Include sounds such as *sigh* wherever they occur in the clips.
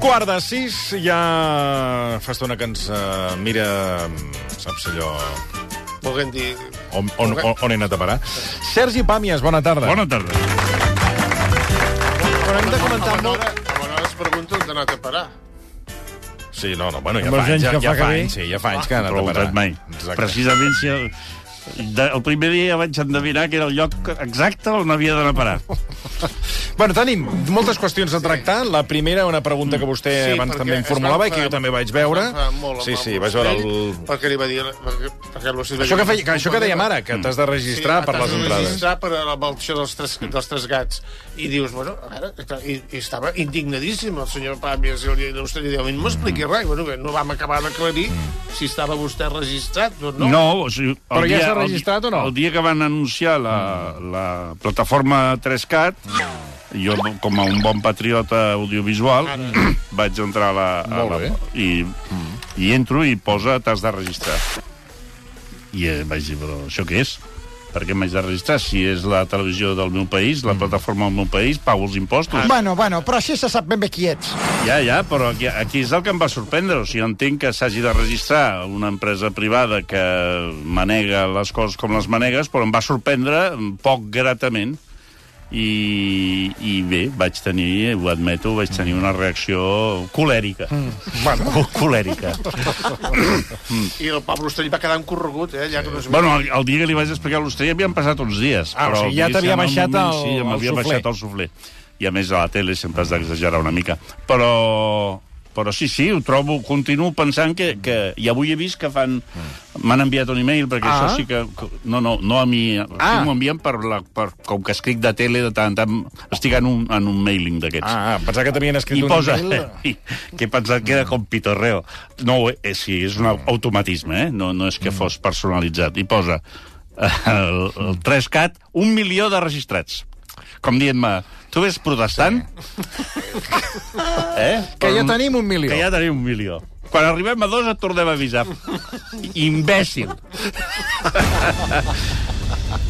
quart de sis, ja fa estona que ens eh, mira... Saps allò... Volguem dir... On, on, on, on he anat a parar? Sergi Pàmies, bona tarda. Bona tarda. Però hem de comentar molt- A vegades pregunto on t'ha anat a parar. Sí, no, no, bueno, ja Amb fa els anys, anys ja, que ja fa fa que ve. anys, sí, ja fa anys que ha anat Ah, Però a parar. usat mai. Exacte. Precisament si el, de, el primer dia ja vaig endevinar que era el lloc exacte on havia d'anar a parar. Bueno, tenim moltes qüestions a tractar. La primera, una pregunta que vostè Sí, Eh, abans perquè també em es formulava va i que jo enfadar- també vaig veure. es va enfadar molt amb Sí, el sí, vaig veure el... Montseny, Perquè li va dir... Perquè, perquè l'Ocell va Això que, dir- feia, que, això que dèiem ara, que t'has de registrar Sí, per les t'has de entrades. registrar per la balció dels tres, dels tres gats. I dius, bueno, a veure, clar, i, i estava indignadíssim el senyor Pàmies i el il·lustre, i diu, no m'expliqui res, I, bueno, que no vam acabar d'aclarir si estava vostè registrat o no. No, o sigui, el Però ja dia- s'ha el di- registrat o no? El dia que van anunciar la, la plataforma 3CAT, jo, com a un bon patriota audiovisual, *clears throat* vaig entrar a la... A Molt la i, I entro i posa t'has de registrar. I eh, vaig dir, però això què és? Per què m'haig de registrar? Si és la televisió del meu país, Mm. la plataforma del meu país, pago els impostos. Bueno, bueno, però així se sap ben bé qui ets. Ja, ja, però aquí, aquí és el que em va sorprendre. O sigui, entenc que s'hagi de registrar una empresa privada que manega les coses com les manegues, però em va sorprendre poc gratament. I, i bé, vaig tenir, ho admeto, vaig tenir una reacció colèrica. Mm. Bueno, *laughs* colèrica. I el Pablo Ostrell va quedar encorregut, eh, allà que no es Bueno, el, el dia que li vaig explicar a l'Ostrell havien passat uns dies. Doncs Ah, o però sigui, ja diguéssim, t'havia en un baixat moment, el- Sí, ja m'havia el suflé. baixat el suflé. I a més, a la tele sempre has d'exagerar una mica. Però, però sí, sí, ho trobo, continuo pensant que... que I avui he vist que fan... M'han enviat un e-mail, perquè Ah. això sí que... No, no, no a mi... Ah. Sí, m'ho envien per, la, per... Com que escric de tele, de tant en tant... Estic en un, en un mailing d'aquests. Ah, ah, pensava que t'havien *laughs* I escrit un posa... email. que he pensat que era com pitorreo. No, ho és, sí, és un automatisme, eh? No, no és que Mm. fos personalitzat. I posa eh, el, el 3CAT, un milió de registrats. Com dient-me, tu ets protestant? Eh? *laughs* Que Però ja un- tenim un milió. Que ja tenim un milió. Quan arribem a dos et tornem a *laughs* avisar. Imbècil.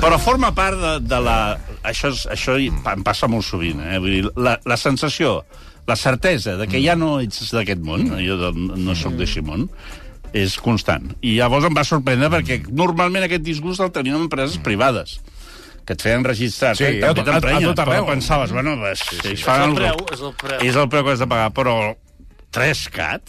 Però forma part de, de la... Això, és, això hi- em passa molt sovint, eh? Vull dir, la, la sensació, la certesa de que ja no ets d'aquest món, jo de- no sóc d'aquest món, és constant. I llavors em va sorprendre perquè normalment aquest disgust el tenien empreses privades que et feien registrar, Sí, eh? a també tot- a- a t'emprenyen, tot arreu. però pensaves, bueno, pues, sí, sí, És el preu, és el preu. és el preu que has de pagar, però 3 cat?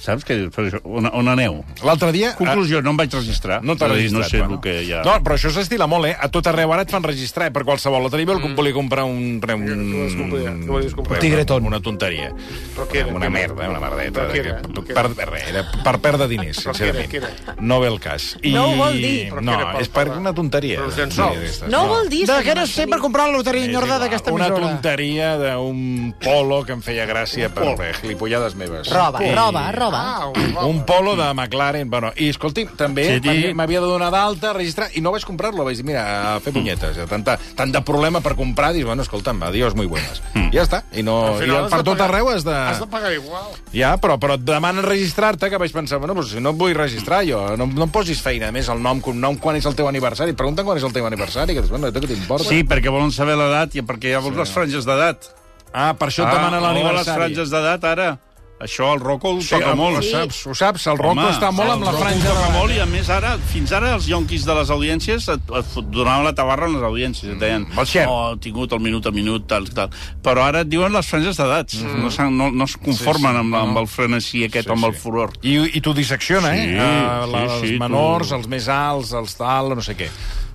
Saps? Que, per això, on, on aneu? L'altre dia... Conclusió, no em vaig registrar. No t'ha És a dir, registrat. No sé bueno. el que hi ha... No, però això s'estila molt, eh? A tot arreu ara et fan registrar, eh? Per qualsevol. La Tribal mm. volia comprar un... re- volies comprar, un... no volies comprar. Tigreton. Una tonteria. Però què era? Una Què era? merda, eh, una merdeta. Però què era? Que- Però què Per, era? res, era per perdre diners, Però què era? sincerament. Què era? No ve el cas. I... No ho vol dir. Però què No, era, Pau? és per una tonteria. Però els llençols. Sí, No ho vol dir, De senyor què no sé Marcelí. per comprar la loteria És enyorda igual, d'aquesta Una emissora? tonteria d'un polo que em feia gràcia per per gilipollades meves. Roba, I- roba, roba. Ah, un, Un polo de McLaren. Bueno, I, escolti, també Sí, m'havia- sí. m'havia de donar d'alta, registrar, i no vaig comprar-lo. Vaig dir, mira, a fer punyetes. Mm. Tant, tant de problema per comprar, dius, bueno, escolta'm, adiós, muy buenas. Mm. Ja està. I no... I per tot arreu has de... Has de pagar igual. Ja, però, però et demanen registrar-te, que vaig pensar, bueno, doncs, si no em vull registrar jo, no, no em posis feina, a més, el nom, cognom, quan és el teu aniversari, et pregunten quan és el teu aniversari, que dius, bueno, a tu què t'importa? Sí, perquè volen saber l'edat i perquè hi ha les franges d'edat. Ah, per això et demanen no les l'aniversari. franges d'edat, ara. Això el Rocco el Sí, toca molt. ho saps, ho saps, el Rocco Home, està molt amb la el Rocco franja eh? toca de... molt, i a més ara, fins ara els yonquis de les audiències et, et fot- donaven la tabarra a les audiències, et deien el share. oh, he tingut el minut a minut, tal, tal. Però ara et diuen les franges d'edats, Mm. no, s'han- no, no es conformen amb, la- amb el frenesí aquest, Sí, amb el sí. furor. I, I t'ho dissecciona, Sí, eh? Ah, sí, la- els sí, tu- menors, els més alts, els tal, no sé què.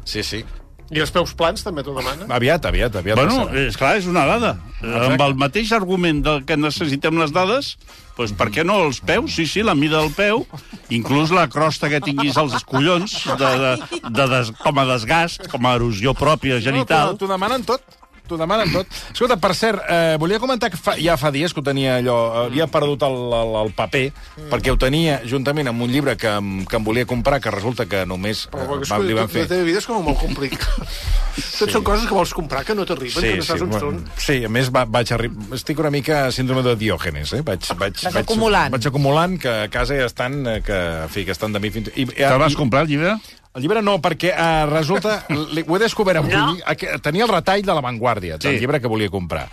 Sí, sí. I els peus plans també t'ho demanen? Aviat, aviat, aviat. Bueno, passarà. és clar, és una dada. Exacte. Amb el mateix argument del que necessitem les dades, doncs per què no els peus? Sí, sí, la mida del peu, inclús la crosta que tinguis als collons, de, de, de des, com a desgast, com a erosió pròpia No, eh, genital. t'ho- T'ho demanen tot. T'ho demanen tot. Escolta, per cert, eh, volia comentar que fa, ja fa dies que ho tenia allò... Havia perdut el, el, el paper, mm. perquè ho tenia juntament amb un llibre que, em- que em volia comprar, que resulta que només eh, Però, va, li van fer... La teva vida és com molt *laughs* complicada. Tot són coses que vols comprar, que no t'arriben, que no saps on bueno, són. sí, a més va, vaig arribar... Estic una mica síndrome de Diògenes, eh? Vaig, vaig, Vas vaig, acumulant. Vaig acumulant, que a casa ja estan, eh, que, en fi, que estan de mi fins... I, Te'l vas comprar, el llibre? El llibre no, perquè eh, *laughs* resulta... li- Ho he descobert avui. No? aqu- Tenia el retall de La Vanguardia, del Sí. llibre que volia comprar.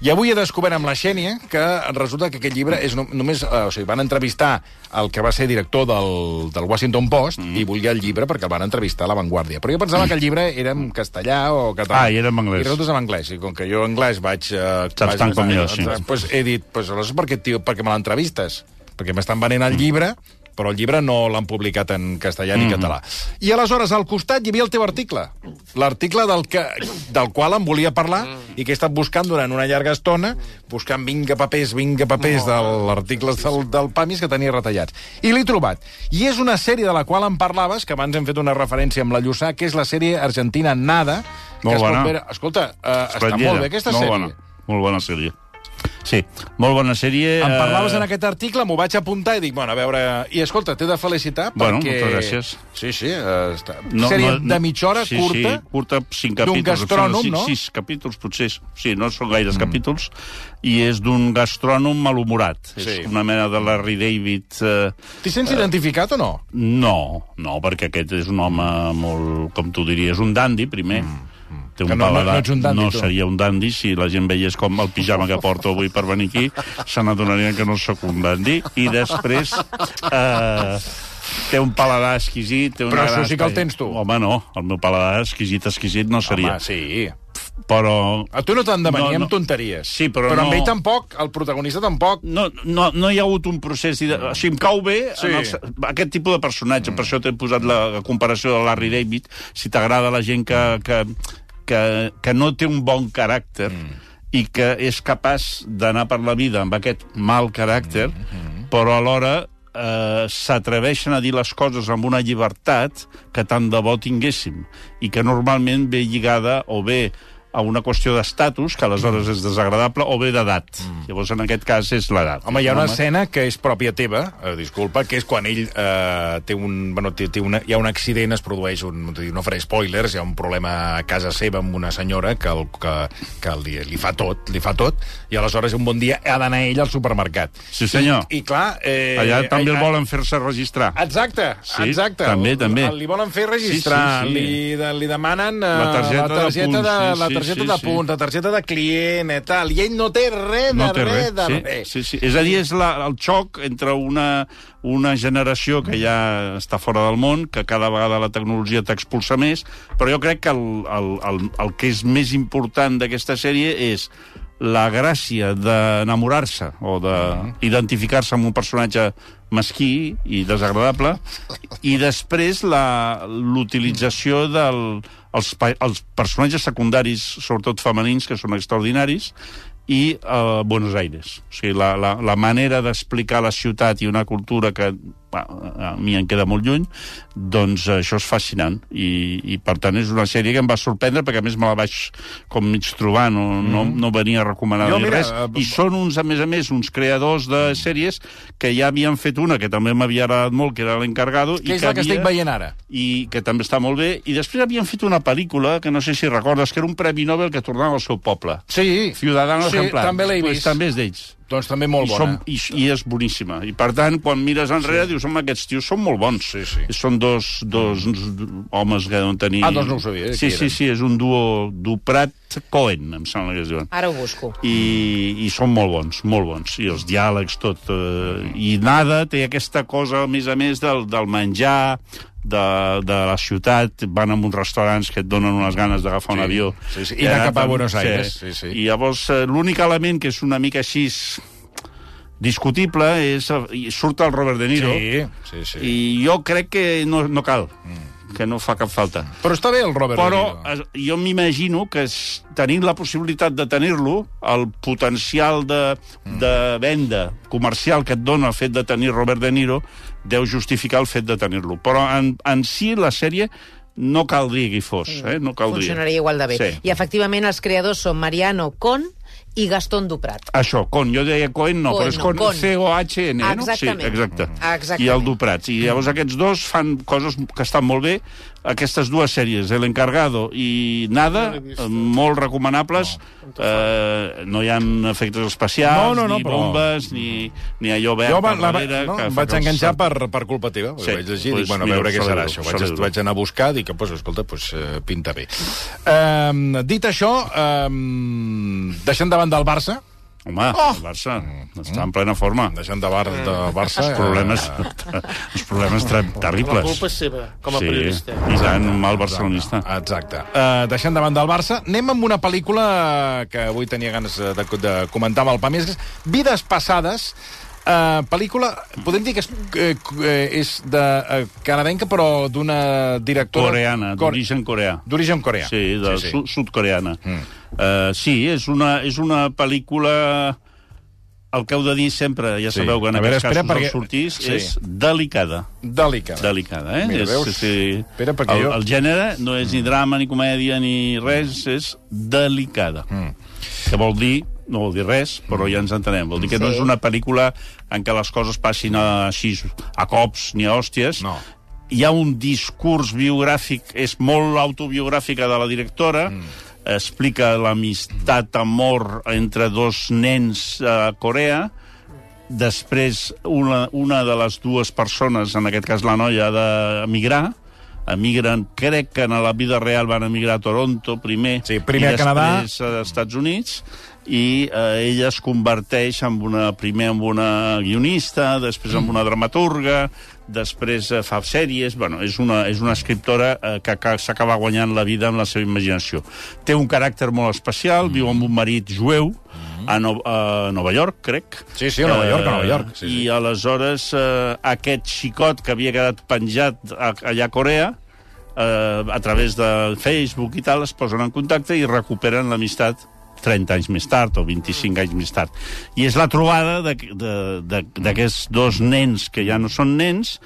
I avui he descobert amb la Xènia que resulta que aquest llibre és no, només... Eh, o sigui, van entrevistar el que va ser director del, del Washington Post mm. i volia el llibre perquè el van entrevistar a La Vanguardia. Però jo pensava que el llibre era en castellà o català. Ah, i era en anglès. I resulta és en anglès. I com que jo anglès vaig... Eh, Saps tant com jo, sí. Doncs, Pues he dit, pues, aleshores per què, et diu- per què me l'entrevistes? Perquè m'estan venent Mm. el llibre, però el llibre no l'han publicat en castellà Mm-hmm. ni català. I aleshores al costat hi havia el teu article, l'article del, que, del qual em volia parlar Mm. i que he estat buscant durant una llarga estona, buscant vinga papers, vinga papers no, de l'article del, del PAMIS que tenia retallats. I l'he trobat. I és una sèrie de la qual em parlaves, que abans hem fet una referència amb la Lluçà, que és la sèrie argentina Nada, Molt que es pot bona. veure- Escolta, eh, està Espatllera. molt bé aquesta molt sèrie. Bona. Molt bona sèrie. Sí, molt bona sèrie. Em eh, parlaves en aquest article, m'ho vaig apuntar i dic, bueno, a veure... I escolta, t'he de felicitar Bueno, perquè... moltes gràcies. Sí, sí, eh, està... No, sèrie no, de mitja hora, sí, curta... Sí, curta, cinc d'un capítols. em gastrònom, sembla, no? cinc, Sis capítols, potser. Sí, no són gaires mm. capítols. I és d'un gastrònom malhumorat. Sí. És una mena de Larry David... Eh, T'hi sents identificat o no? no, no, perquè aquest és un home molt, com tu diries, un dandi, primer. Mm. Té Que no- no- paladar- no ets un dandy, no tu. seria un dandi si la gent veiés com el pijama que porto avui per venir aquí, se n'adonarien que no sóc un dandi. I després... Eh, té un paladar exquisit... Té una Però gran això sí que el espai- tens tu. Home, no. El meu paladar exquisit, exquisit no seria. Home, sí. Home. Però A tu no t'han de venir No, no. amb tonteries. Sí, però però no- amb ell tampoc, el protagonista tampoc. no, no, no hi ha hagut un procés... De... O sigui, em cau bé Sí. sí. en el, aquest tipus de personatge. Mm. Per això t'he posat la, la comparació de Larry David. Si t'agrada la gent que, que, que, que no té un bon caràcter mm. i que és capaç d'anar per la vida amb aquest mal caràcter, mm. però alhora eh, s'atreveixen a dir les coses amb una llibertat que tant de bo tinguéssim i que normalment ve lligada o bé a una qüestió d'estatus, que aleshores Mm. és desagradable, o bé d'edat. Mm. Llavors, en aquest cas, és l'edat. Home, hi ha una Home, escena que és pròpia teva, eh, disculpa, que és quan ell eh, té un... Bueno, té, té una, hi ha un accident, es produeix un... No faré spoilers, hi ha un problema a casa seva amb una senyora que, el, que, que li, li fa tot, li fa tot, i aleshores un bon dia ha d'anar ell al supermercat. Sí, senyor. I, i clar... Eh, Allà també el eh, volen fer-se registrar. Exacte, Sí, exacte. també, també. Li volen fer registrar, Sí, sí, sí. Li, de, li demanen eh, La targeta la de targeta punts, de, sí, la sí, targeta sí, de sí. punts, la targeta de client i tal, i ell no té res de No té res, res. de Sí, res. sí, sí. És a dir, és la, el xoc entre una, una generació que ja està fora del món, que cada vegada la tecnologia t'expulsa més, però jo crec que el, el, el, el que és més important d'aquesta sèrie és la gràcia d'enamorar-se o d'identificar-se amb un personatge mesquí i desagradable i després la- l'utilització dels els, pa- els personatges secundaris, sobretot femenins, que són extraordinaris, i a Buenos Aires. O sigui, la, la, la manera d'explicar la ciutat i una cultura que va, a mi em queda molt lluny, doncs això és fascinant. I, I, per tant, és una sèrie que em va sorprendre, perquè a més me la vaig com mig trobar, no, no, no venia recomanada Mm-hmm. Jo, ni mira, res. eh, I són uns, a més a més, uns creadors de sèries que ja havien fet una, que també m'havia agradat molt, que era l'encargado. i Que és la que havia estic veient ara. i que també està molt bé. I després havien fet una pel·lícula, que no sé si recordes, que era un Premi Nobel que tornava al seu poble. Sí, Ciudadanos sí, en plan. també l'he vist. Pues, també és d'ells. Doncs també molt I, bona. som, i, I és boníssima. I, per tant, quan mires enrere, sí. dius, home, aquests tios són molt bons. Sí, sí. Mm. Són dos, dos homes que deuen tenir... Ah, doncs no ho sabia, eh, Sí, qui sí, eren. sí, és un duo Duprat-Cohen, em sembla que es diuen Ara ho busco. i, i són molt bons, molt bons. I els diàlegs, tot. Eh, I nada, té aquesta cosa, a més a més, del, del menjar, de, de la ciutat, van a uns restaurants que et donen unes ganes d'agafar un Sí, avió. sí, sí. I anar cap a Buenos Aires, sí, sí. I llavors, eh, l'únic element que és una mica així discutible és... eh, i Surt el Robert De Niro, Sí, sí, sí. i jo crec que no, no cal, Mm. que no fa cap falta. Però està bé el Robert Però De Niro. es- jo m'imagino que es- tenint la possibilitat de tenir-lo, el potencial de, de venda comercial que et dona el fet de tenir Robert De Niro deu justificar el fet de tenir-lo. Però en, en si la sèrie no caldria que hi fos. Eh? No caldria. Funcionaria igual de bé. Sí. I, efectivament, els creadors són Mariano Con i Gaston Duprat. Això, con, jo deia cohen, no, Cohen, però és con, no, con. C-O-H-N, eh, no? Exactament. Sí, exacte. Exactament. I el Duprats. I llavors aquests dos fan coses que estan molt bé. Aquestes dues sèries, El Encargado i Nada, No l'he vist. eh, molt recomanables. No, eh, no hi ha efectes especials, No, no, no, ni però- bombes, ni, ni allò verd Jo va, al la, va- darrere, no, que em fa vaig que els- enganxar per, per culpa teva. Sí, Sí, vaig llegir i doncs dic, bueno, a mira, veure què serà celebro, això. Vaig, celebro. vaig anar a buscar, dic, pues, escolta, pues, eh, pinta bé. Um, dit això, um, deixant de banda el Barça, Home, oh! el Barça està en plena forma. deixant de, bar, de Barça... Mm. Els problemes, eh, els problemes ter- La culpa terribles. és seva, com a sí, periodista. i tant, un mal barcelonista. Exacte. Uh, deixant de banda el Barça, anem amb una pel·lícula que avui tenia ganes eh, de, de comentar amb el Pamés, que és Vides passades, Uh, pel·lícula, podem dir que és, eh, eh, és de eh, canadenca, però d'una directora... Coreana, Cor- d'origen coreà. D'origen coreà. Sí, de sí, sí. sud-coreana. Mm. Uh, sí, és una, és una pel·lícula... El que heu de dir sempre, ja Sí. sabeu que en A veure, aquests espera, casos perquè- perquè... sortís, Sí. sí. és delicada. Delicada. Delicada, eh? Mira, és, veus? és, sí. Espera, perquè el, jo- Mm. el gènere no és ni drama, ni comèdia, ni res, és delicada. Mm. Que vol dir, no vol dir res, però Mm. ja ens entenem. Vol dir que no és una pel·lícula en què les coses passin a, així a cops ni a hòsties. No. Hi ha un discurs biogràfic, és molt autobiogràfica de la directora, mm. explica l'amistat, amor entre dos nens a Corea, després una, una de les dues persones, en aquest cas la noia, ha d'emigrar, emigren, crec que en la vida real van emigrar a Toronto primer, Sí, primer i a Canadà. després a Estats Units, i eh, ella es converteix en una, primer en una guionista, després en una dramaturga, després eh, fa sèries... Bueno, és, una, és una escriptora eh, que, que s'acaba guanyant la vida amb la seva imaginació. Té un caràcter molt especial, mm. viu amb un marit jueu, a, no, a Nova York, crec. Sí, sí, a Nova York, a Nova York, sí, Eh, sí. I aleshores eh, aquest xicot que havia quedat penjat a, allà a Corea, eh, a través de Facebook i tal, es posen en contacte i recuperen l'amistat 30 anys més tard o 25 anys més tard. I és la trobada de- de- de- d'aquests dos nens que ja no són nens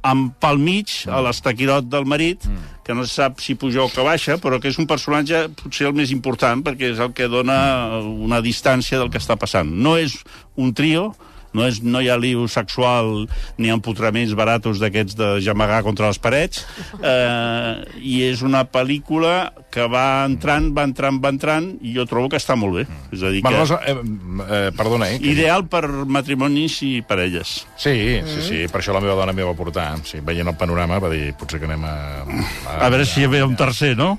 amb pel mig a l'estaquirot del marit, que no se sap si puja o que baixa, però que és un personatge potser el més important, perquè és el que dona una distància del que està passant. No és un trio, no, és, no hi ha liu sexual ni empotraments baratos d'aquests de jamagar contra les parets. Eh, I és una pel·lícula que va entrant, va entrant, va entrant, i jo trobo que està molt bé. És a dir, Bueno, que doncs, eh, eh, perdona, eh? que- ideal per matrimonis i parelles. Sí, sí, sí, per això la meva dona m'hi va portar. Sí, veient el panorama va dir, potser que anem a... A veure si hi ve un tercer, no?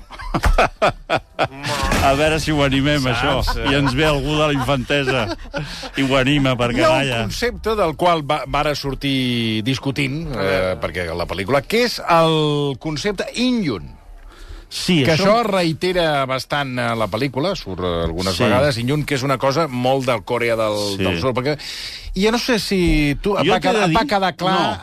A veure si ho animem, Saps? això. I ens ve algú de la infantesa i ho anima, Hi perquè, ha un vaja... concepte del qual va, vara sortir discutint, eh, perquè la pel·lícula, que és el concepte Inyun, Sí, que això, es reitera bastant a la pel·lícula, surt eh, algunes sí. Sí. vegades, Inyun, que és una cosa molt del Corea del, Sí. sí. del Sud, perquè i jo no sé si tu et Jo va, t'he de quedar, et dir- va quedar clar no. no.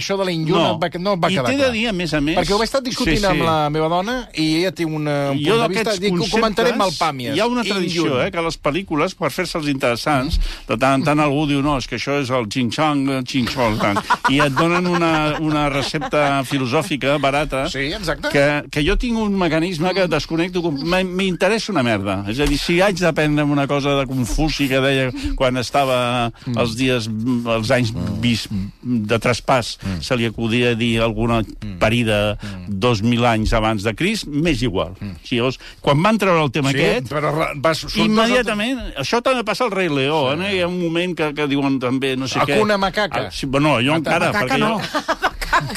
això de l'Inyun, no. No. no et va I quedar t'he de clar. dir, a més a més- Perquè ho he estat discutint Sí, sí. sí, sí. amb la meva dona i ella té un, eh, un punt de jo vista, d'aquests dic, ho conceptes... comentaré amb el Pàmies. Hi ha una tradició, Inyun. eh, que les pel·lícules, per fer-se'ls interessants, de tant en tant algú diu, no, és que això és el xinxang, el xinxol, tant. I et donen una, una recepta filosòfica barata. Sí, exacte. Que, que jo tinc un mecanisme que desconnecto... com- m'in- M'interessa una merda. És a dir, si haig d'aprendre una cosa de Confuci que deia quan estava els dies, els anys bis, de traspàs, se li acudia dir alguna parida dos mil anys abans de Crist, m'és igual. Si llavors, quan van treure el tema Sí, aquest, però ra- va, surt Immediatament, això també passa al rei Leó, sí. eh? hi ha un moment que, que diuen també, no sé què... Hakuna Matata. Ah, sí, bueno, jo encara, Macaca perquè... no.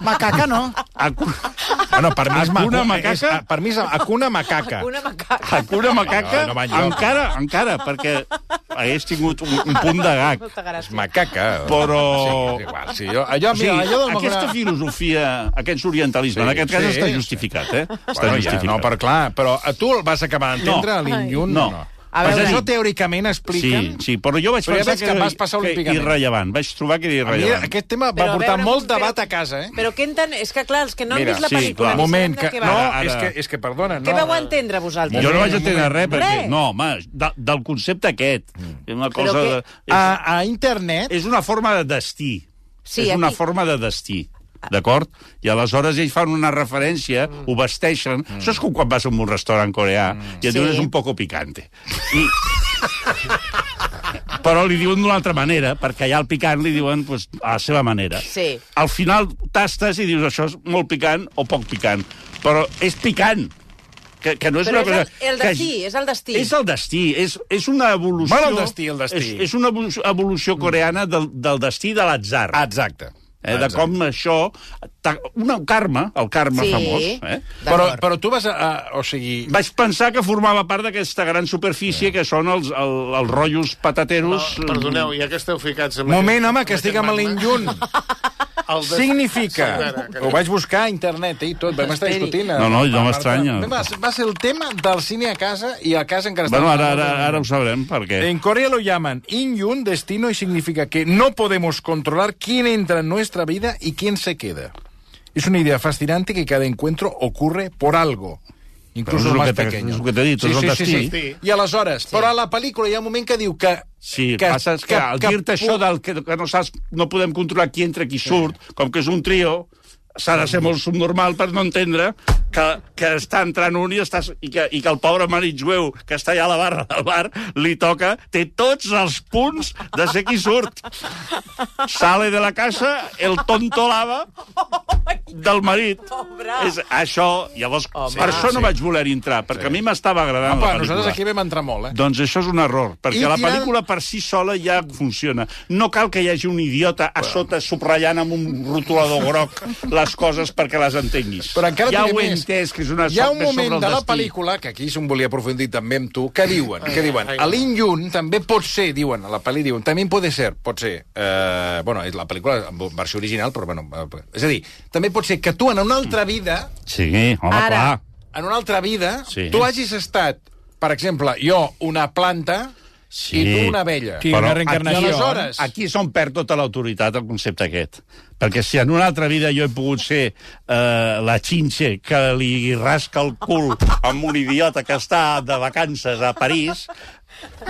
Macaca no. Jo... Bueno, Ah, per mi és Hakuna maco- macaca? és- ah, per mi és Hakuna macaca. Ah. Una macaca. Hakuna Macaca, No, no no, va no enlloc. encara, encara, perquè hagués tingut un, un punt de gag. Molta gràcia. Macaca. Però- Sí, és igual, sí. Jo, allò, O sigui, mira, allò del aquesta Macaca- filosofia, aquest orientalisme, Sí, en aquest cas sí, està sí. justificat, eh? Està Bueno, ja, justificat. no, per clar, però a tu el vas acabar d'entendre, No. a l'Indiun? No. A Però veure, això sí. teòricament expliquen... Sí, sí, però jo vaig Però ja pensar veig que vas passar que olímpicament. irrellevant. Vaig trobar que era A mi irrellevant. aquest tema va Però a portar veure, molt però- debat a casa, eh? Però què enten... És que, clar, els que no han Mira, vist la sí, clar. pel·lícula... Un no sabem moment, de que... què va. No, Ara, ara. és que, és que perdona, no. Què vau entendre, vosaltres? Jo no vaig entendre res, perquè... Res. No, home, de, del concepte aquest. Mm. És una Però cosa... que- De, és, A, a internet... és una forma de destí. Sí, és una aquí- forma de destí. d'acord? I aleshores ells fan una referència, mm. ho vesteixen... Mm. Això és com quan vas a un restaurant coreà mm. i et Sí. diuen és un poco picante. I... Però li diuen d'una altra manera, perquè allà al picant li diuen pues, a la seva manera. Sí. Al final tastes i dius això és molt picant o poc picant. Però és picant. Que, que no és una Però és cosa... el, el que- destí, és el destí. és el destí, és, és una evolució... Mal el destí, el destí. És, és una evolució- evolució coreana del, del destí de l'atzar. Ah, exacte. Eh, de com això... ta- Una, un karma, el karma Sí. famós. Eh? Però, D'acord. però tu vas a... a o sigui... Vaig pensar que formava part d'aquesta gran superfície que són els, el, els rotllos patateros... Oh, perdoneu, ja que esteu ficats... Amb Moment, aquest- home, amb que aquest estic amb magma, l'injunt. el des- *laughs* Sí, a Significa... veure, que- Ho vaig buscar a internet eh, i tot, vam estar Esperi. discutint. No, no, no Va, m'estranya. Va, va ser el tema del cine a casa i a casa encara Bueno, estava- ara, ara, ara ho sabrem, perquè... En Corea lo llaman Inyun destino y significa que no podemos controlar quién entra en nuestra vida y quién se queda. Es una idea fascinante que cada encuentro ocurre por algo. Incluso Però és el el más que t'he- pequeño. és el que t'he dit, és el destí. I aleshores, però a la pel·lícula hi ha un moment que diu que... Sí, que, passa és que, al dir-te això del que, que no saps, no podem controlar qui entra, qui surt, com que és un trio, s'ha de ser molt subnormal per no entendre que, que està entrant un i, estàs, i, que, i que el pobre marit jueu que està allà a la barra del bar li toca, té tots els punts de ser qui surt. Sale de la casa el tonto lava del marit. Pobre. És això, llavors, Home. per això Sí. no vaig voler entrar, perquè a mi m'estava agradant Apa, la pel·lícula. nosaltres aquí vam entrar molt, eh? Doncs això és un error, perquè I I la tirant- pel·lícula per si sola ja funciona. No cal que hi hagi un idiota a sota subratllant amb un rotulador groc les coses perquè les entenguis. Però encara ja t'hi ho diré he més. entès, que és una Hi ha un sobre el moment de la destí. pel·lícula, que aquí se'n volia aprofundir també amb tu, que diuen, que diuen, ai. a l'Inyun també pot ser, diuen, a la pel·li diuen, també pot ser, pot ser, eh, bueno, és la pel·lícula en versió original, però bueno, eh, és a dir, també pot ser que tu en una altra vida, Sí, home, Ara. clar. en una altra vida, Sí. tu hagis estat, per exemple, jo una planta Sí. i tu una abella. Sí, una reencarnació. I aleshores, Aquí és on perd tota l'autoritat el concepte aquest. Perquè si en una altra vida jo he pogut ser eh, la xinxe que li rasca el cul amb un idiota que està de vacances a París,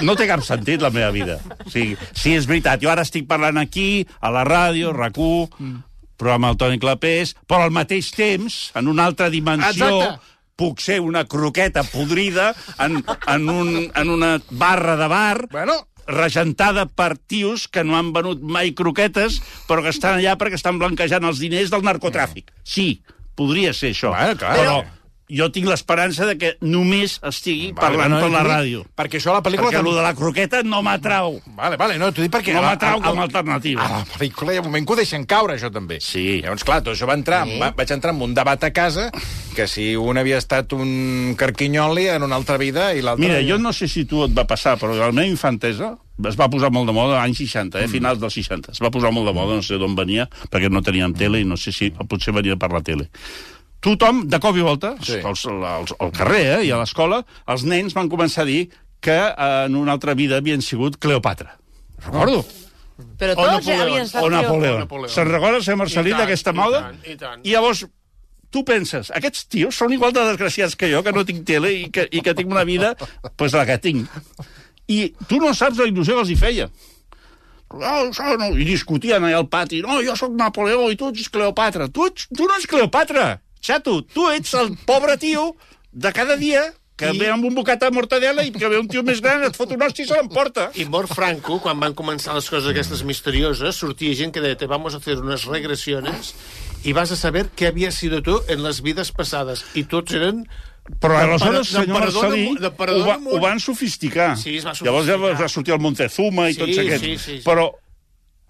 no té cap sentit la meva vida. O sigui, sí, és veritat, jo ara estic parlant aquí, a la ràdio, RAC1, però amb el Toni Clapés, però al mateix temps, en una altra dimensió... Exacte. Puc ser una croqueta podrida en, en, un, en una barra de bar Bueno. regentada per tios que no han venut mai croquetes, però que estan allà perquè estan blanquejant els diners del narcotràfic. Sí, podria ser això. Bueno, clar. Però jo tinc l'esperança de que només estigui parlant no, per la t'ho dic, ràdio. Perquè això a la pel·lícula... Perquè també- el de la croqueta no m'atrau. Vale, vale, no, t'ho dic perquè... No a la- m'atrau a- com a a- alternativa. A Ah, la pel·lícula hi ha un moment que ho deixen caure, això també. Sí. Llavors, clar, tot això va entrar, sí. va, vaig entrar en un debat a casa que si un havia estat un carquinyoli en una altra vida i l'altre... Mira, jo no sé si tu et va passar, però a la meva infantesa es va posar molt de moda anys 60, eh, finals dels 60. Es va posar molt de moda, no sé d'on venia, perquè no teníem tele i no sé si potser venia per la tele. Tothom, de cop i volta, Sí. sí. als, als, al carrer eh, i a l'escola, els nens van començar a dir que eh, en una altra vida havien sigut Cleopatra. Recordo. O Però tots Napoleó. havien estat... O Napoleó. O Napoleó. Se'n recordes, eh, Marcelí, I tant, d'aquesta i moda? tant, i tant. I llavors, tu penses, aquests tios són igual de desgraciats que jo, que no tinc tele i que, i que tinc una vida, doncs pues, la que tinc. I tu no saps la il·lusió que els hi feia. No, això no. I discutien allà al pati. No, jo sóc Napoleó i tu ets Cleopatra. Tu, ets, tu no ets Cleopatra, xato. Tu ets el pobre tio de cada dia que I... ve amb un bocat de mortadela i que ve un tio més gran, et fot un hosti i se l'emporta. I mor Franco, quan van començar les coses aquestes misterioses, sortia gent que deia te vamos a hacer unas regresiones i vas a saber què havia sido tu en les vides passades. I tots eren... Però aleshores, Del senyor perdó de Marcelí, mu- del perdó ho, va, de mu- ho van sofisticar. Sí, es va Llavors ja va sofisticar. va sortir el Montezuma i Sí, tots aquests. sí, sí, sí. Però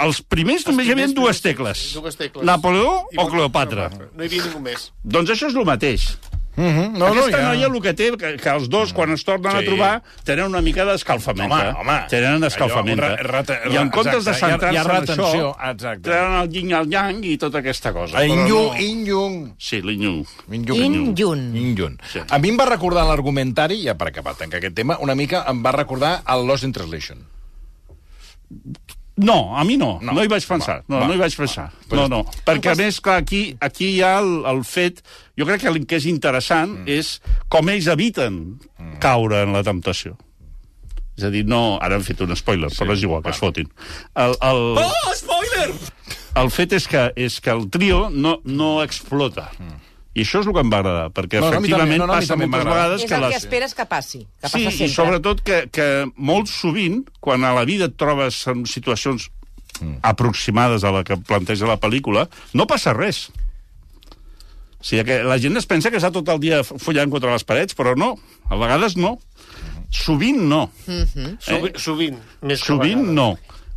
els primers només hi havia primers dues dues- tecles. dues tecles. Napoleó I o Cleopatra. No hi havia ningú més. Doncs això és el mateix. Mm, no, Aquesta ja. noia el que té, que, que els dos, quan es tornen Sí. a trobar, tenen una mica d'escalfamenta. Home, home. Tenen escalfamenta. Allò, un ra- rata- I en ra- comptes exacte, de centrar-se hi ha- hi ha en això, retenció, exacte. tenen el yin i el yang i tota aquesta cosa. A Però Inyun, no- Inyun. Sí, l'Inyu. Inyun. In Yun. Inyun. Sí. A mi em va recordar l'argumentari, ja per acabar tancar aquest tema, una mica em va recordar el Lost in Translation. No, a mi no, No. no, no hi vaig pensar. Va, no, va, no hi vaig pensar. Pues no, no. Perquè, a més, clar, aquí, aquí hi ha el, el fet... Jo crec que el que és interessant mm. és com ells eviten mm. caure en la temptació. És a dir, no... Ara han fet un spoiler, sí, però és igual, que es fotin. El, el... Oh, spoiler! el fet és que, és que el trio no, no explota. I això és el que em va agradar, perquè No, no, Mm. a mi també, efectivament no, no, a mi passa també em va agradar. moltes vegades És que el que les... esperes que passi. Que Sí, passa sempre. i sobretot que, que molt sovint, quan a la vida et trobes en situacions aproximades a la que planteja la pel·lícula, no passa res. O sigui, que la gent es pensa que està tot el dia follant contra les parets, però no, a vegades no. Sovint no. Sovi, sovint. Més que Eh? Sovint vegades. no.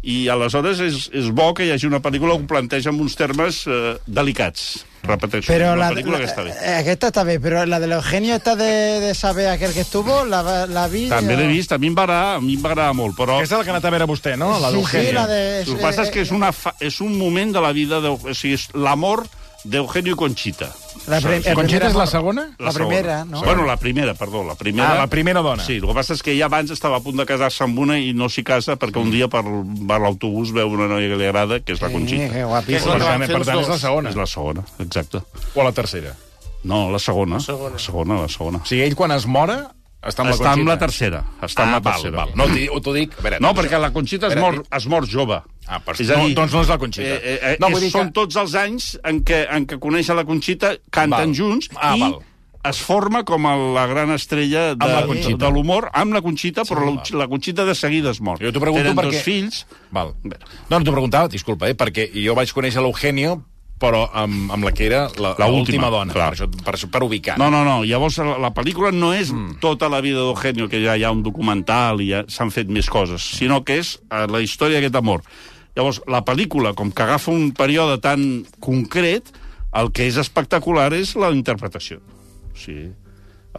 I aleshores és, és bo que hi hagi una pel·lícula que ho planteja amb uns termes eh, delicats. Repeteixo, Però una la, pel·lícula la, eh, que està bé. aquesta està bé, però la de l'Eugenio esta de, de saber aquel que estuvo, la, va- la vi... També l'he vist, a mi em va agradar, a mi em va agradar molt, però... Aquesta és la que ha anat a veure vostè, no? La Sí, d'Eugènia. sí, la de... El que passa és que és, una fa... és un moment de la vida, de... o sigui, és l'amor d'Eugenio i Conchita. La, prim- el Conxeta primer és la amor. segona? La segona. primera, no? Bueno, la primera, perdó, la primera. Ah, la primera dona. Sí, el que passa és que ella abans estava a punt de casar-se amb una i no s'hi casa perquè un dia per, per l'autobús veu una noia que li agrada, que és la Sí, Conchita. que Per guapíssim. la que van tant, eh, fer per els tant és la dos. segona. És la segona, exacte. O la tercera. No, la segona. segona. La segona, la segona. O sigui, ell quan es mora està amb Està la Conxeta. amb la tercera. Està amb Ah, la val, tercera. val. No, t'hi- ho t'ho dic... a Veure, No, doncs- perquè la Conxita es Espera, mor, dic- es mor jove. Ah, però no, doncs no és la Conxita. Eh, eh, eh, No, no, vull és, dir que- són tots els anys en què, en què coneix a la Conxita, Val. canten junts Ah, i val. es forma com a la gran estrella de, la Conxita. de l'humor amb la Conxita, però la, la Conxita de seguida es mor. Jo t'ho pregunto Tenen perquè- dos fills. Val. Bé. No, no t'ho preguntava, disculpa, eh, perquè jo vaig conèixer l'Eugenio però amb, amb la que era la- La l'última última, dona, per, clar. això, per, això, per ubicar. No, no, no. Llavors, la, la pel·lícula no és mm. tota la vida d'Eugenio, que ja hi ha un documental i ja s'han fet més coses, sinó que és eh, la història d'aquest amor. Llavors, la pel·lícula, com que agafa un període tan concret, el que és espectacular és la interpretació. O sigui,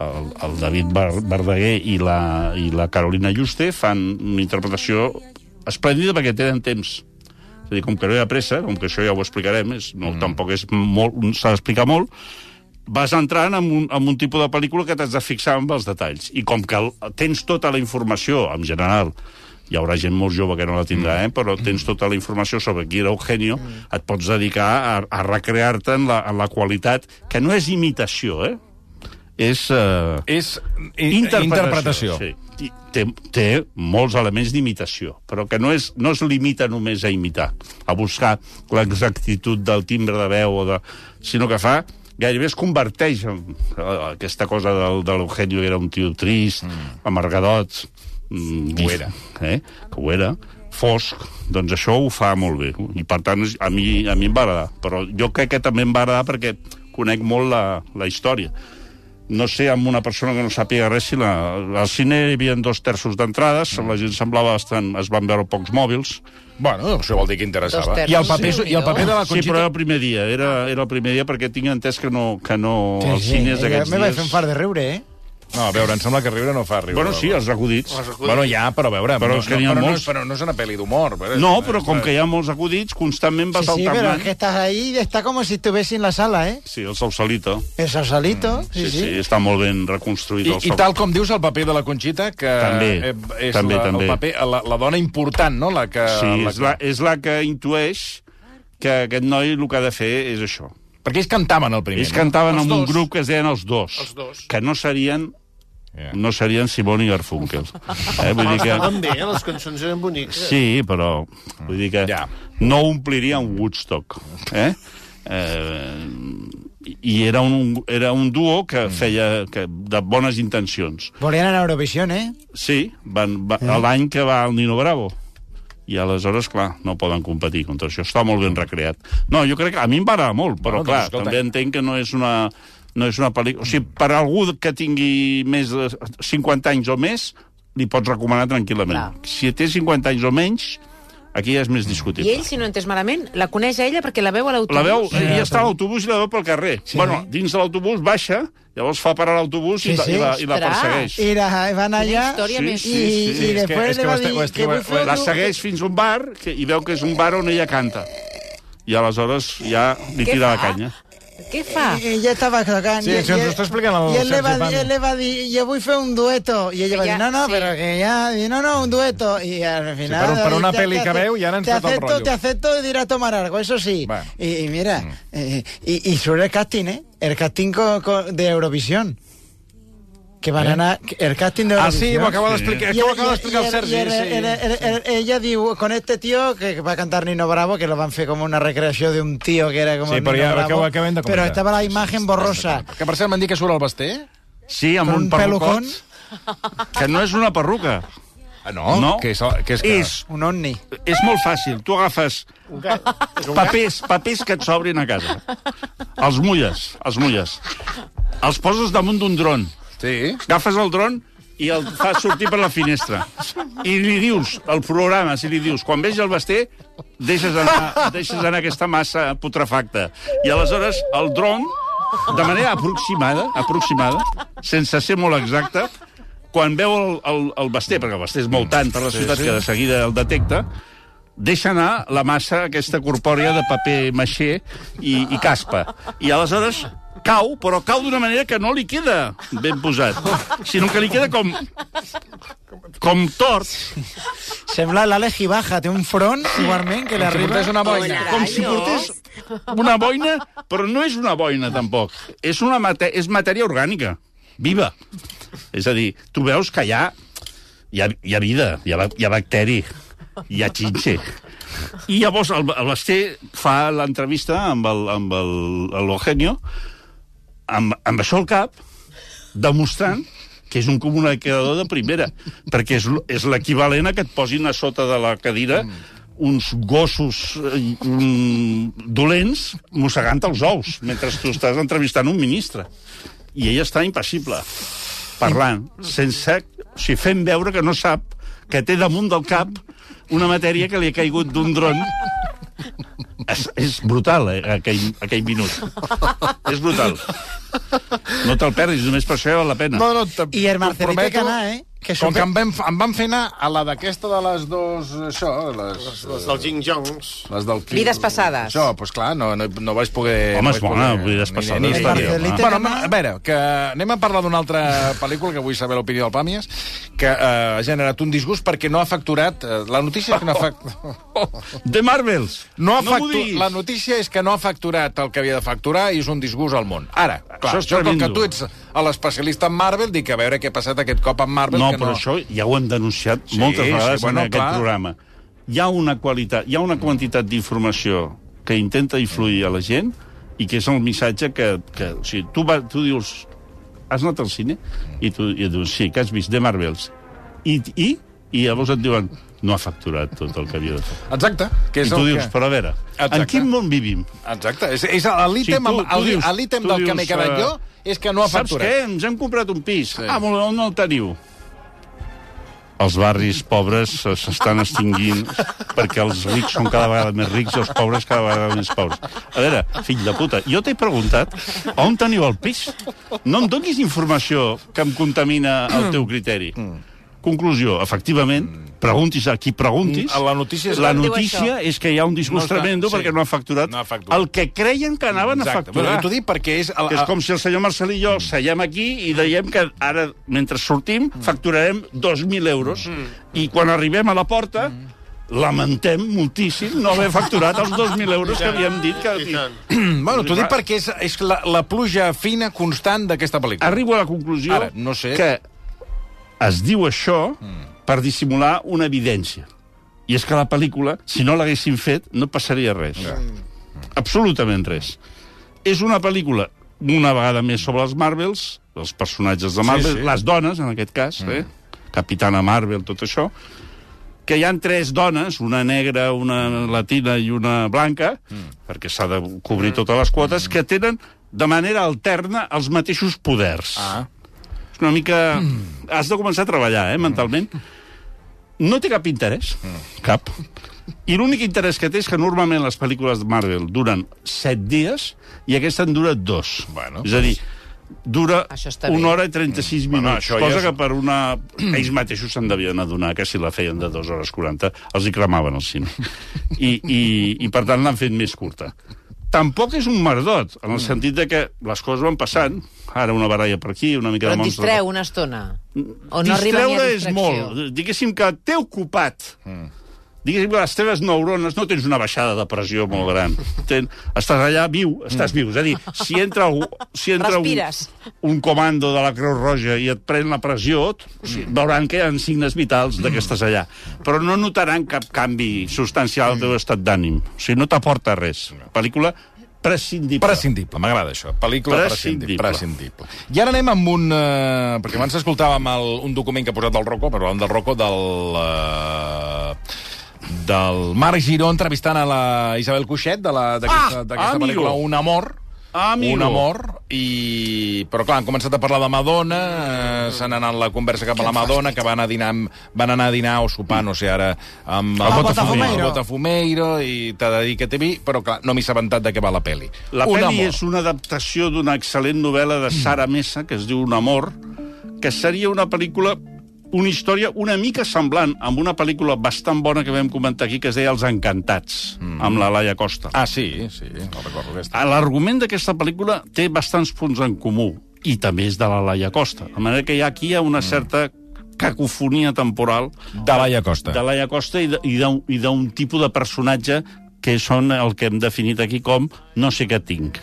el, el David Bar- Verdaguer i la, i la Carolina Juste fan una interpretació esplèndida perquè tenen temps. És a dir, com que no hi ha pressa, com que això ja ho explicarem, és, no, mm. tampoc és molt, s'ha d'explicar molt, vas entrant en un, en un tipus de pel·lícula que t'has de fixar amb els detalls. I com que el- tens tota la informació, en general, hi haurà gent molt jove que no la tindrà, eh? però tens tota la informació sobre qui era Eugenio, et pots dedicar a, a recrear-te en, la, en la qualitat, que no és imitació, eh? És... Eh És i- interpretació. Sí. I Té, té molts elements d'imitació, però que no, és, no es limita només a imitar, a buscar l'exactitud del timbre de veu, o de, sinó que fa gairebé es converteix en eh, aquesta cosa del, de l'Eugenio, que era un tio trist, mm. amargadot... Mm, Ho era. Eh? Que ho era fosc, doncs això ho fa molt bé. I per tant, és- a mi, a mi em va agradar. Però jo crec que també em va agradar perquè conec molt la, la història no sé, amb una persona que no sàpiga res, si la, al cine hi havia dos terços d'entrades, la gent semblava bastant... es van veure pocs mòbils. Bueno, això vol dir que interessava. Dos terços, I el paper, sí, i el paper de la Sí, però Conxita... era el primer dia, era, era el primer dia perquè tinc entès que no, que no sí, els cines ella- d'aquests Me vaig fer un dies... far de riure, eh? No, a veure, em sembla que riure no fa riure. Bueno, sí, els acudits. Bueno, ja, però a veure... Però no, és que no, n'hi ha però, no, molts. és- però no és una pel·li d'humor. però- No, però eh. com que hi ha molts acudits, constantment Sí, vas sí, pero alternant... es que estás ahí, está como si estuviese en la sala, ¿eh? Sí, el Sausalito. El salito, Sí, sí, sí, sí. està molt ben I, reconstruït el I tal com dius, el paper de la Conxita, que També, eh, és també, la, també. el paper, la, la dona important, no? La que, Sí, eh, la és la, és la que intueix que aquest noi el que ha de fer és això. Perquè ells cantaven el primer. Ells cantaven Els amb un dos. grup que es deien Els Dos, Els Dos. que no serien No? Ja. Eh, no serien Simone i Garfunkel. Eh? Vull dir que... Estaven bé, eh? les cançons eren boniques. Sí, però vull dir que Ja. no ompliria un Woodstock. Eh? Eh, I era un, era un duo que feia que, de bones intencions. Volían en Eurovisión, ¿eh? Sí, van, va, l'any que va el Nino Bravo. I aleshores, clar, no poden competir contra això. Està molt ben recreat. No, jo crec que a mi em va agradar molt, però Bueno, doncs, clar, escolta. també entenc que no és una no és una pel·lícula... O sigui, per algú que tingui més de 50 anys o més, li pots recomanar tranquil·lament. Clar. Si té 50 anys o menys, aquí ja és Mm. més I discutible. ell, si no ho he entès malament, la coneix a ella perquè la veu a l'autobús. La veu, Sí, ella ja està a l'autobús i la veu pel carrer. Sí. Bueno, dins de l'autobús baixa, llavors fa parar l'autobús Sí, i, la, sí. i, la, i la Ostres. persegueix. Y la- van allá història. Sí, més. y, sí, sí. y es que- después es que le va a ho este- ho decir este- que muy ho- fuerte. La segueix fins a un bar que, i veu que és un bar on ella canta. I aleshores ja li Què tira la fa? canya. Què fa? Y ella estaba tocando. Sí, y- se y- nos está explicando, Y él le va Sergio a Pan. él le va a decir, yo voy a hacer un dueto. Y ella va a Ella- decir, no, no, sí. pero que ya, y no, no, un dueto. Y al final... pero- pero una dice, peli "Te que ace- veo y ahora han Te soltado el acepto, rollo". te acepto de ir a tomar algo, eso sí. Bueno. Mm. Y, y mira, eh, y, y sobre el casting, ¿eh? El casting co- co- de Eurovisión. que van anar... El casting de Ah, sí, Eurovisión. ho acaba Sí. d'explicar, Y que ho era- acaba d'explicar y el era- Sergi. y era- sí. era- era- era- ella diu, con este tío, que que va a cantar Nino Bravo, que lo van a hacer como una recreación de un tío que era como Sí, pero Nino ya Bravo, acabo- acaben de Pero comentar. estaba la imagen borrosa. Que per cert m'han dit que surt el Basté. Sí, amb Con un, un perrucot, pelucón, que no és una perruca. Ah, no? Que és, el- que és, que... és, un ovni. és molt fàcil. Tu agafes Un gat. És un gat? papers, papers que et s'obrin a casa. Els mulles, els mulles. Els poses damunt d'un dron. Sí. Agafes el dron i el fas sortir per la finestra. I li dius, al programa, si li dius, quan veig el Basté, deixes anar, deixes anar aquesta massa putrefacta. I aleshores el dron, de manera aproximada, aproximada, sense ser molt exacte, quan veu el, el, el Basté, perquè el Basté és molt tant per la ciutat que de seguida el detecta, deixa anar la massa aquesta corpòrea de paper maixé i, i caspa. I aleshores cau, però cau d'una manera que no li queda ben posat, sinó que li queda com, com tort, Sembla l'Àlex Baja, té un front, igualment, que Si l'arriba... portés una boina. com si portés una boina, però no és una boina, tampoc. És, una mate és matèria orgànica, viva. És a dir, tu veus que hi ha, hi ha, hi ha vida, hi ha, ba- hi ha bacteri, hi ha xinxe. I llavors el, el Basté fa l'entrevista amb el- amb el- l'Eugenio, amb, amb això al cap, demostrant que és un comunicador de primera, perquè és, l- és l'equivalent a que et posin a sota de la cadira uns gossos eh, mm, dolents mossegant els ous mentre tu estàs entrevistant un ministre. I ell està impassible, parlant, sense... O sigui, fent veure que no sap que té damunt del cap una matèria que li ha caigut d'un dron. És, és brutal, eh, aquell, aquell minut. és brutal. No te'l perdis, només per això val la pena. No, no, te- I el Marcelí té prometo que anar, eh? Que com que super... em van, em van fer anar a la d'aquesta de les dos... Això, les, Les dels Jing Jongs. les del... Quim. Vides passades. Això, doncs pues clar, no, no, no vaig poder... Home, no és vaig bona, poder- Vides ni- passades, ni- ni- està ni- bé, home. Bueno, home, a veure, que anem a parlar d'una altra pel·lícula, que vull saber l'opinió del Pàmies, que eh, ha generat un disgust perquè no ha facturat... Eh, la notícia és que no ha *laughs* facturat... The Marvels! No ha m'ho factu... diguis. La notícia és que no ha facturat el que havia de facturar i és un disgust al món. Ara, clar, Això és jo com que tremendo. tu ets l'especialista en Marvel, dic a veure què ha passat aquest cop amb Marvel. No, que però no... això ja ho hem denunciat Sí, moltes sí, vegades bueno, en aquest clar. programa. Hi ha una qualitat, hi ha una quantitat d'informació que intenta influir a la gent i que és el missatge que... que o sigui, tu, va, tu dius... Has anat al cine? I tu i et dius, sí, que has vist The Marvels. I, i, I llavors et diuen, no ha facturat tot el que havia de fer. Exacte. Que I és tu el dius, que... però a veure, Exacte. en quin món vivim? Exacte, és, és l'ítem Sí, tu- tu sí, dius- l'ítem tu del que dius, m'he quedat eh, jo és que no ha Saps què? facturat. Ens hem comprat un pis. Sí. Sí. Ah, molt bé, on el teniu? Els barris pobres se- s'estan extingint perquè els rics són cada vegada més rics i els pobres cada vegada més pobres. A veure, fill de puta, jo t'he preguntat on teniu el pis. No em donis informació que em contamina el teu criteri. Mm. Conclusió, efectivament, preguntis a qui preguntis. Mm, la notícia és- la Diu notícia és que hi ha un disgust No està- tremendo sí. perquè no ha facturat, No ha facturat. el que creien que anaven a Exacte. facturar. Però t'ho dic perquè és... El, Que és com si el senyor Marcelí i jo seiem aquí i deiem que ara, mentre sortim, facturarem 2.000 euros i quan arribem a la porta lamentem moltíssim no haver facturat els 2.000 euros que havíem dit I que... tant. Bueno, t'ho dic perquè és, és la, la pluja fina constant d'aquesta pel·lícula. Arribo a la conclusió Ara, no sé. que es diu això per dissimular una evidència. I és que la pel·lícula, si no l'haguessin fet, no passaria res. Mm. Absolutament res. És una pel·lícula, una vegada més, sobre els Marvels, els personatges de Marvel, sí. Mm. les dones, en aquest cas, eh? Capitana Marvel, tot això, que hi han tres dones, una negra, una latina i una blanca, mm. perquè s'ha de cobrir totes les quotes, Mm. que tenen de manera alterna els mateixos poders. Ah. Mm. És una mica... Has de començar a treballar, eh, mentalment. No té cap interès, Mm. cap. I l'únic interès que té és que normalment les pel·lícules de Marvel duren set dies i aquesta en dura dos. Bueno, doncs és a dir, dura Això està una bé. hora i 36 minuts, Bueno, bueno, això això ja cosa és- que per una... *clears throat* Ells mateixos se'n devien adonar que si la feien de 2 hores 40 els hi cremaven al *laughs* cine. I, i, i per tant l'han fet més curta. Tampoc és un merdot, en el sentit de que les coses van passant, ara una baralla per aquí, una mica Però de et monstre... distreu una estona. O no arriba ni a Distreure és distracció. molt. Diguéssim que t'he ocupat. Mm. Diguéssim que les teves neurones no tens una baixada de pressió molt gran. Ten, estàs allà viu, estàs viu. És a dir, si entra, algú, si entra un, Respires. un comando de la Creu Roja i et pren la pressió, t- o sigui, veuran que hi ha signes vitals de que estàs allà. Però no notaran cap canvi substancial al teu estat d'ànim. O sigui, Mm. no t'aporta res. Pel·lícula prescindible. Prescindible, m'agrada això. Pel·lícula prescindible. prescindible. I ara anem amb un... Eh, perquè abans escoltàvem el, un document que ha posat del Rocco, però parlàvem del Rocco, del... Eh, del Marc Giró entrevistant a la Isabel Cuixet de la- d'aquesta Ah, ah, amigo. pel·lícula Un amor. Amigo. Un amor. I... Però clar, han començat a parlar de Madonna, eh, s'han anat la conversa cap a la Madonna, que van a dinar, amb- van anar a dinar o sopar, no sé, ara... Amb Al el Botafumeiro. El Botafumeiro, i t'ha de dir que t'he vist, però clar, no m'he assabentat de què va la pel·li. La Un pel·li amor. és una adaptació d'una excel·lent novel·la de Sara Mesa, que es diu Un amor, que seria una pel·lícula una història una mica semblant amb una pel·lícula bastant bona que vam comentar aquí, que es deia Els Encantats, mm. amb la Laia Costa. Ah, sí, sí, no recordo aquesta. A Ah, L'argument d'aquesta pel·lícula té bastants punts en comú, i també és de la Laia Costa. De manera que hi ha aquí hi ha una certa cacofonia temporal De Laia Costa. de Laia Costa i de- i d'un i d'un tipus de personatge que són el que hem definit aquí com no sé què tinc.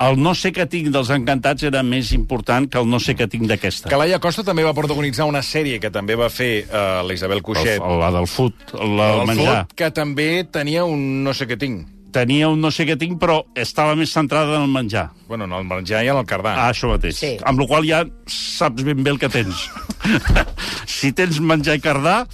El no sé què tinc dels encantats era més important que el no sé què tinc Que d'aquesta. Laia Costa també va protagonitzar una sèrie que també va fer uh, la Isabel Cuixet. El- La del fut, la del El menjar. Fot, que també tenia un no sé què tinc. Tenia un no sé què tinc, però estava més centrada en el menjar. Bueno, en el menjar i en el cardar. Ah, això mateix. Sí. Sí. Amb la qual cosa ja saps ben bé el que tens. si tens menjar i cardar,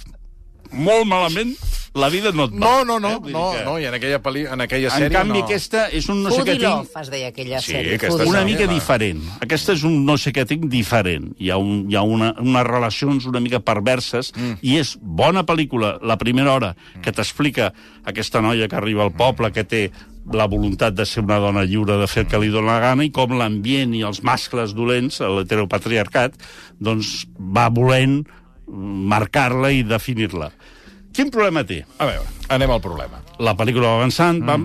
molt malament, la vida no et va. no, no, no, Eh, vull dir no, que- no, i en aquella, peli, en aquella En sèrie canvi, no. aquesta és un no sé què Foodie tinc Love, es deia aquella Sí, sèrie. aquesta Foodie sèrie. una Love. mica va. diferent. Aquesta és un no sé què tinc diferent. Hi ha, un, hi ha una, unes relacions una mica perverses mm. i és bona pel·lícula, la primera hora, que t'explica aquesta noia que arriba al poble, que té la voluntat de ser una dona lliure, de fer el que li dóna la gana, i com l'ambient i els mascles dolents, l'heteropatriarcat, doncs va volent mm, marcar-la i definir-la. Quin problema té? A veure, anem al problema. la pel·lícula va avançant, va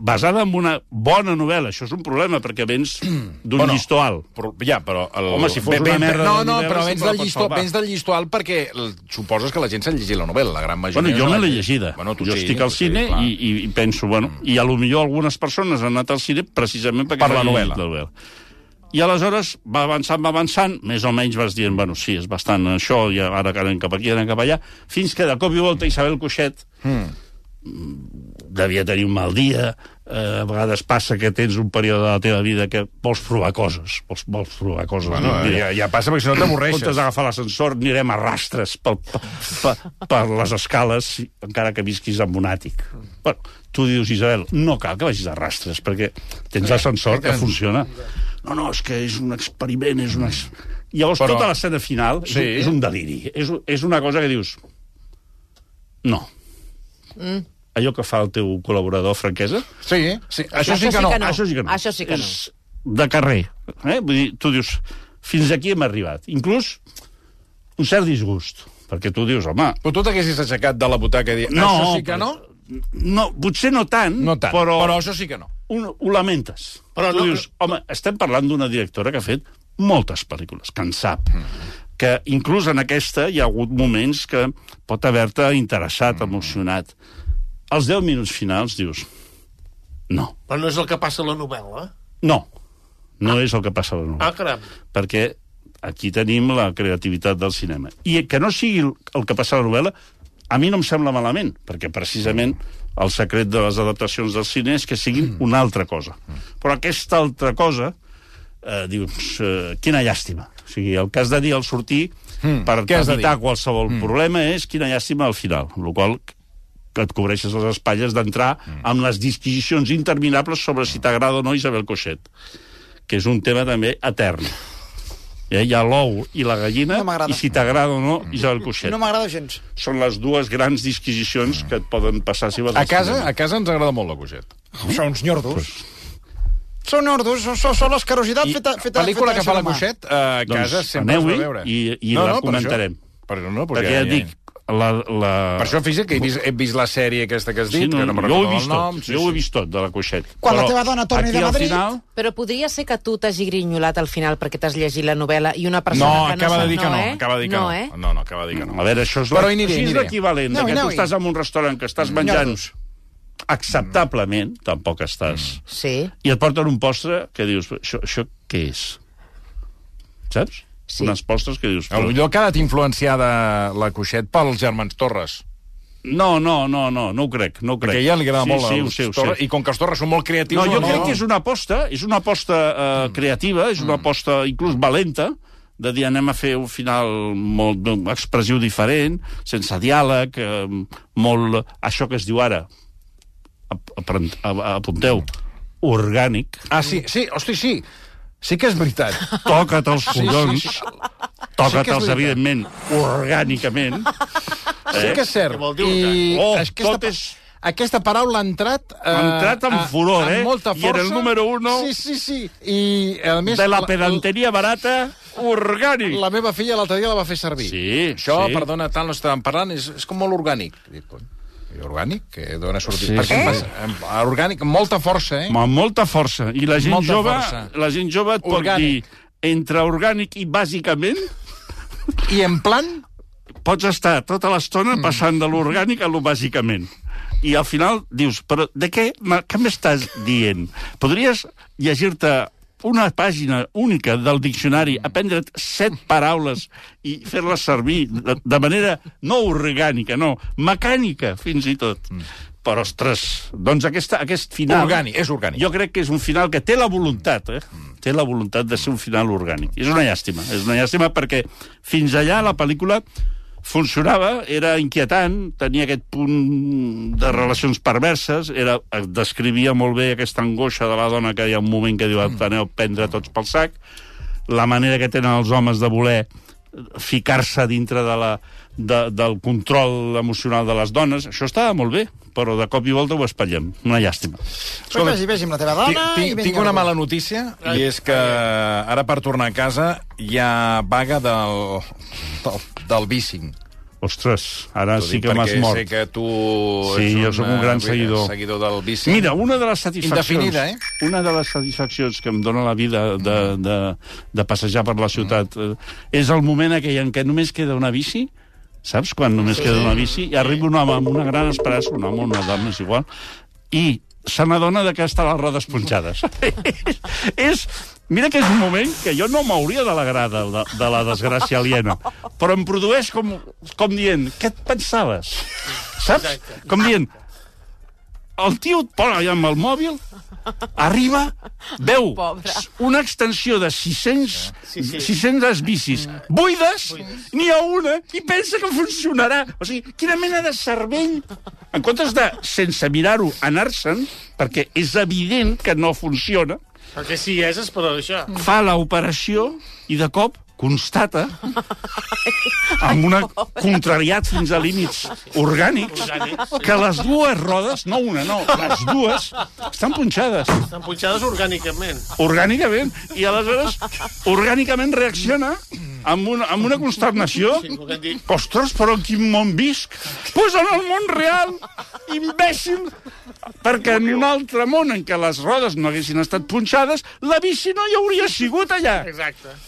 basada en una bona novel·la. Això és un problema, perquè vens d'un Bueno. bueno. llistó alt. Però, ja, però... El... Home, si fos Ve- una vens- merda de No, no, novel·la, però sempre vens la del, pots llistó, salvar. vens del llistó alt perquè el- suposes que la gent s'ha llegit la novel·la, la gran majoria. Bueno, jo no me l'he llegit. llegida. Bueno, tu jo sí, estic al tu sí, cine clar. i, i, i penso, bueno, i a lo millor algunes persones han anat al cine precisament perquè Per s'han la llegit novel·la. novel·la. I aleshores va avançant, va avançant, més o menys vas dient, bueno, sí, és bastant això, i ara que anem cap aquí, anem cap allà, fins que de cop i volta Isabel Coixet devia tenir un mal dia, eh, a vegades passa que tens un període de la teva vida que vols provar coses, vols, vols provar coses. Bueno, ja, Mira, ja passa perquè si no en comptes t'avorreixes. d'agafar l'ascensor, anirem a rastres pel, per, per, per les escales, encara que visquis en un àtic. Bueno, tu dius, Isabel, no cal que vagis a rastres, perquè tens l'ascensor que funciona. No, no, és que és un experiment, és una... Llavors, Però- Però... tota l'escena final sí. Sí. és un deliri. És, és una cosa que dius... No. Mm. Allò que fa el teu col·laborador, franquesa, Sí, sí, això sí que no. no. Això sí que no. Això sí que no. És de carrer. Eh? Vull dir, tu dius, fins aquí hem arribat. Inclús un cert disgust, perquè tu dius, home... Però tu t'haguessis aixecat de la butaca i dir, No, això sí que no? No, potser no tant, No tant, però, però això sí que no. un, ho lamentes. Però tu no- dius, home, estem parlant d'una directora que ha fet moltes pel·lícules, que en sap. Que inclús en aquesta hi ha hagut moments que pot haver-te Mm. interessat, emocionat. Als 10 minuts finals dius, no, Però no és el que passa a la novel·la. no, no és el que passa a la novel·la. Ah, caram. perquè aquí tenim la creativitat del cinema. I que no sigui el- el que passa a la novel·la, a mi no em sembla malament, perquè precisament el secret de les adaptacions del cine és que Mm. siguin una altra cosa. Però aquesta altra cosa, eh, dius, eh, quina llàstima. O sigui, el que has de dir al sortir per Mm. Què has de evitar dir? Mm. qualsevol problema és quina llàstima al final, amb la qual cosa que et cobreixes les espatlles d'entrar Mm. amb les disquisicions interminables sobre si t'agrada o no Isabel Coixet, que és un tema també etern. Eh, Hi ha l'ou i la gallina, No m'agrada. i si t'agrada o no Mm. Isabel Coixet. No No m'agrada gens. Són les dues grans disquisicions que et poden passar si vas A al casa, cinema. a casa ens agrada molt la Coixet. Són uns nyordos. Són nyordos, són, són, són les carositats feta, feta, pel·lícula feta que fa la mà. Coixet, eh, a Doncs casa sempre es va aneu-hi veure. i- i la per comentarem. això. Però no, doncs Perquè ja, ja dic, la, la... Per això, fixa't que he vist, he vist la sèrie aquesta que has dit, Sí, no, que no me'n jo ho he recordo vist el nom. tot, jo ho he vist tot, de la coixet. Quan la teva dona torni aquí, de al Madrid- Final, Però podria ser que tu t'hagi grinyolat al final perquè t'has llegit la novel·la i una persona No, que no acaba de sap- dir que no, eh? acaba de dir que no. no, eh? No, no, acaba de dir que no. a veure, això és, Però hi aniré, això és hi aniré. l'equivalent de No, que no tu hi. estàs en un restaurant que estàs menjant acceptablement, tampoc estàs... Mm. Sí, i et porten un postre que dius, això, això què és? Saps? Sí. Unes postres que dius... A lo millor ha quedat influenciada la Cuixet pels germans Torres. No, no, no, no, no ho crec, no ho crec. Perquè a ella li agrada sí, molt sí, els ho sé, ho Torres, sé. i com que els Torres són molt creatius... No, jo crec que és una aposta, és una aposta eh, Mm. creativa, és una aposta inclús valenta, de dir anem a fer un final molt d'un expressiu diferent, sense diàleg, eh, molt... Això que es diu ara, ap- apren- a- apunteu, orgànic, Ah, sí, sí, hosti, sí. Sí que és veritat. toca't els collons, sí, Sí que és toca'ls, veritat. evidentment, orgànicament. *laughs* Sí que és cert. Què vol dir, I Oh, aquesta, tot és- aquesta paraula ha entrat... Eh, Ha entrat amb a- furor, eh? Amb molta I en força. el número uno- Sí, sí, sí. I, a més... De la pedanteria barata, orgànic. La meva filla l'altre dia la va fer servir. Sí, Això, sí. perdona, tant no estàvem parlant, és, és com molt orgànic. Dic, cony, i orgànic? Que dona sortit. Sí, Sí, Perquè sí. em passa, em- orgànic, amb molta força, eh? Amb molta força. I la gent Molta jove, força. la gent jove et Orgànic. pot dir entre orgànic i bàsicament I en plan... pots estar tota l'estona Mm. passant de l'orgànic a lo bàsicament. I al final dius, però de què, ma- què m'estàs dient? Podries llegir-te una pàgina única del diccionari, aprendre't set paraules i fer-les servir de, de manera no orgànica, no, mecànica, fins i tot. Però, ostres, doncs aquesta, aquest Mm. final... Orgànic, és orgànic. Jo crec que és un final que té la voluntat, eh? Té la voluntat de ser un final orgànic. És una llàstima, és una llàstima perquè fins allà la pel·lícula funcionava, era inquietant, tenia aquest punt de relacions perverses, era, eh, descrivia molt bé aquesta angoixa de la dona que hi ha un moment que diu aneu prendre tots pel sac, la manera que tenen els homes de voler eh, ficar-se dintre de la, de, del control emocional de les dones, això estava molt bé, però de cop i volta ho espatllem. Una llàstima. Escolta, vagi, vagi amb la teva dona... Tinc- i Tinc, vinga, tinc una va. mala notícia, i és que ara per tornar a casa hi ha vaga del, del, del bicing. Ostres, ara T'ho sí dic que m'has perquè mort. Sé que tu... Sí, ets eh, jo sóc un gran seguidor. seguidor del bicing. Mira, una de les satisfaccions... Indefinida, eh? Una de les satisfaccions que em dóna la vida de, de, de passejar per la ciutat Mm. eh, és el moment aquell en què només queda una bici, saps? Quan només queda una bici, i arriba un home amb una gran esperança, un home o una dona, és igual, i se n'adona de que està les rodes *laughs* punxades. és... Mira que és un moment que jo no m'hauria d'alegrar de, la- de la desgràcia aliena, però em produeix com, com dient, què et pensaves? Saps? Com dient, el tio et posa allà amb el mòbil, arriba, veu Pobre. una extensió de 600, Ah, sí, sí. 600 bicis buides, n'hi ha una, i pensa que funcionarà. O sigui, quina mena de cervell... En comptes de, sense mirar-ho, anar-se'n, perquè és evident que no funciona, Perquè si hi és, és per això. fa l'operació i de cop constata amb una contrariat fins a límits orgànics Orgànics, sí. que les dues rodes, no una, no, les dues, estan punxades Estan punxades orgànicament. orgànicament i aleshores orgànicament reacciona amb una, amb una consternació Sí, com que et dic. Ostres, però en quin món visc? Pues en el món real, imbècil! Perquè en un altre món en què les rodes no haguessin estat punxades, la bici no hi hauria sigut allà. Exacte.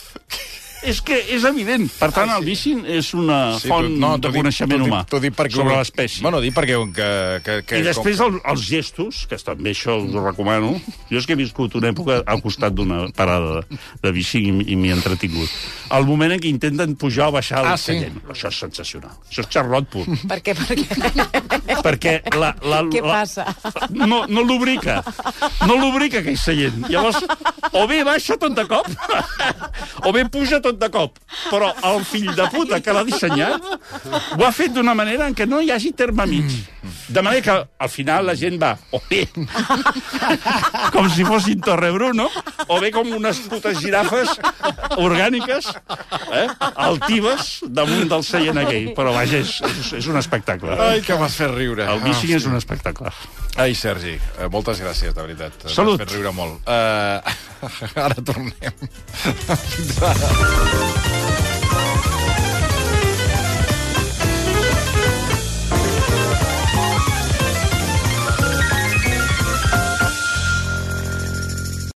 És que és evident. Per tant, el bici és una Sí, font tu- no, de t'ho dic- coneixement t'ho dic- humà t'ho dic perquè sobre ho- l'espècie. Bueno, dic perquè... Que, que, que, I després el, els gestos, que també això us ho recomano. Jo és que he viscut una època al costat d'una parada de, de bici i, m- i m'hi he entretingut. El moment en què intenten pujar o baixar el Ah, sí? seient. Això és sensacional. Això és xarrot pur. per què? Per què? perquè la... la Què la, passa? No, no lubrica. No lubrica aquell seient. Llavors, o bé baixa tot de cop, *laughs* o bé puja tot de cop. Però el fill de puta que l'ha dissenyat ho ha fet d'una manera en què no hi hagi terme mig. De manera que al final la gent va o bé *laughs* com si fossin Torrebruno, o bé com unes putes girafes orgàniques, eh? altives, damunt del seient aquell. Però vaja, és, és, és un espectacle. Ai, que m'has fet riure. El bicing és un espectacle. Ai, Sergi, eh, moltes gràcies, de veritat. Salut. M'has fet Eh, *laughs* *laughs* riure molt. Uh, ara tornem. Fins ara.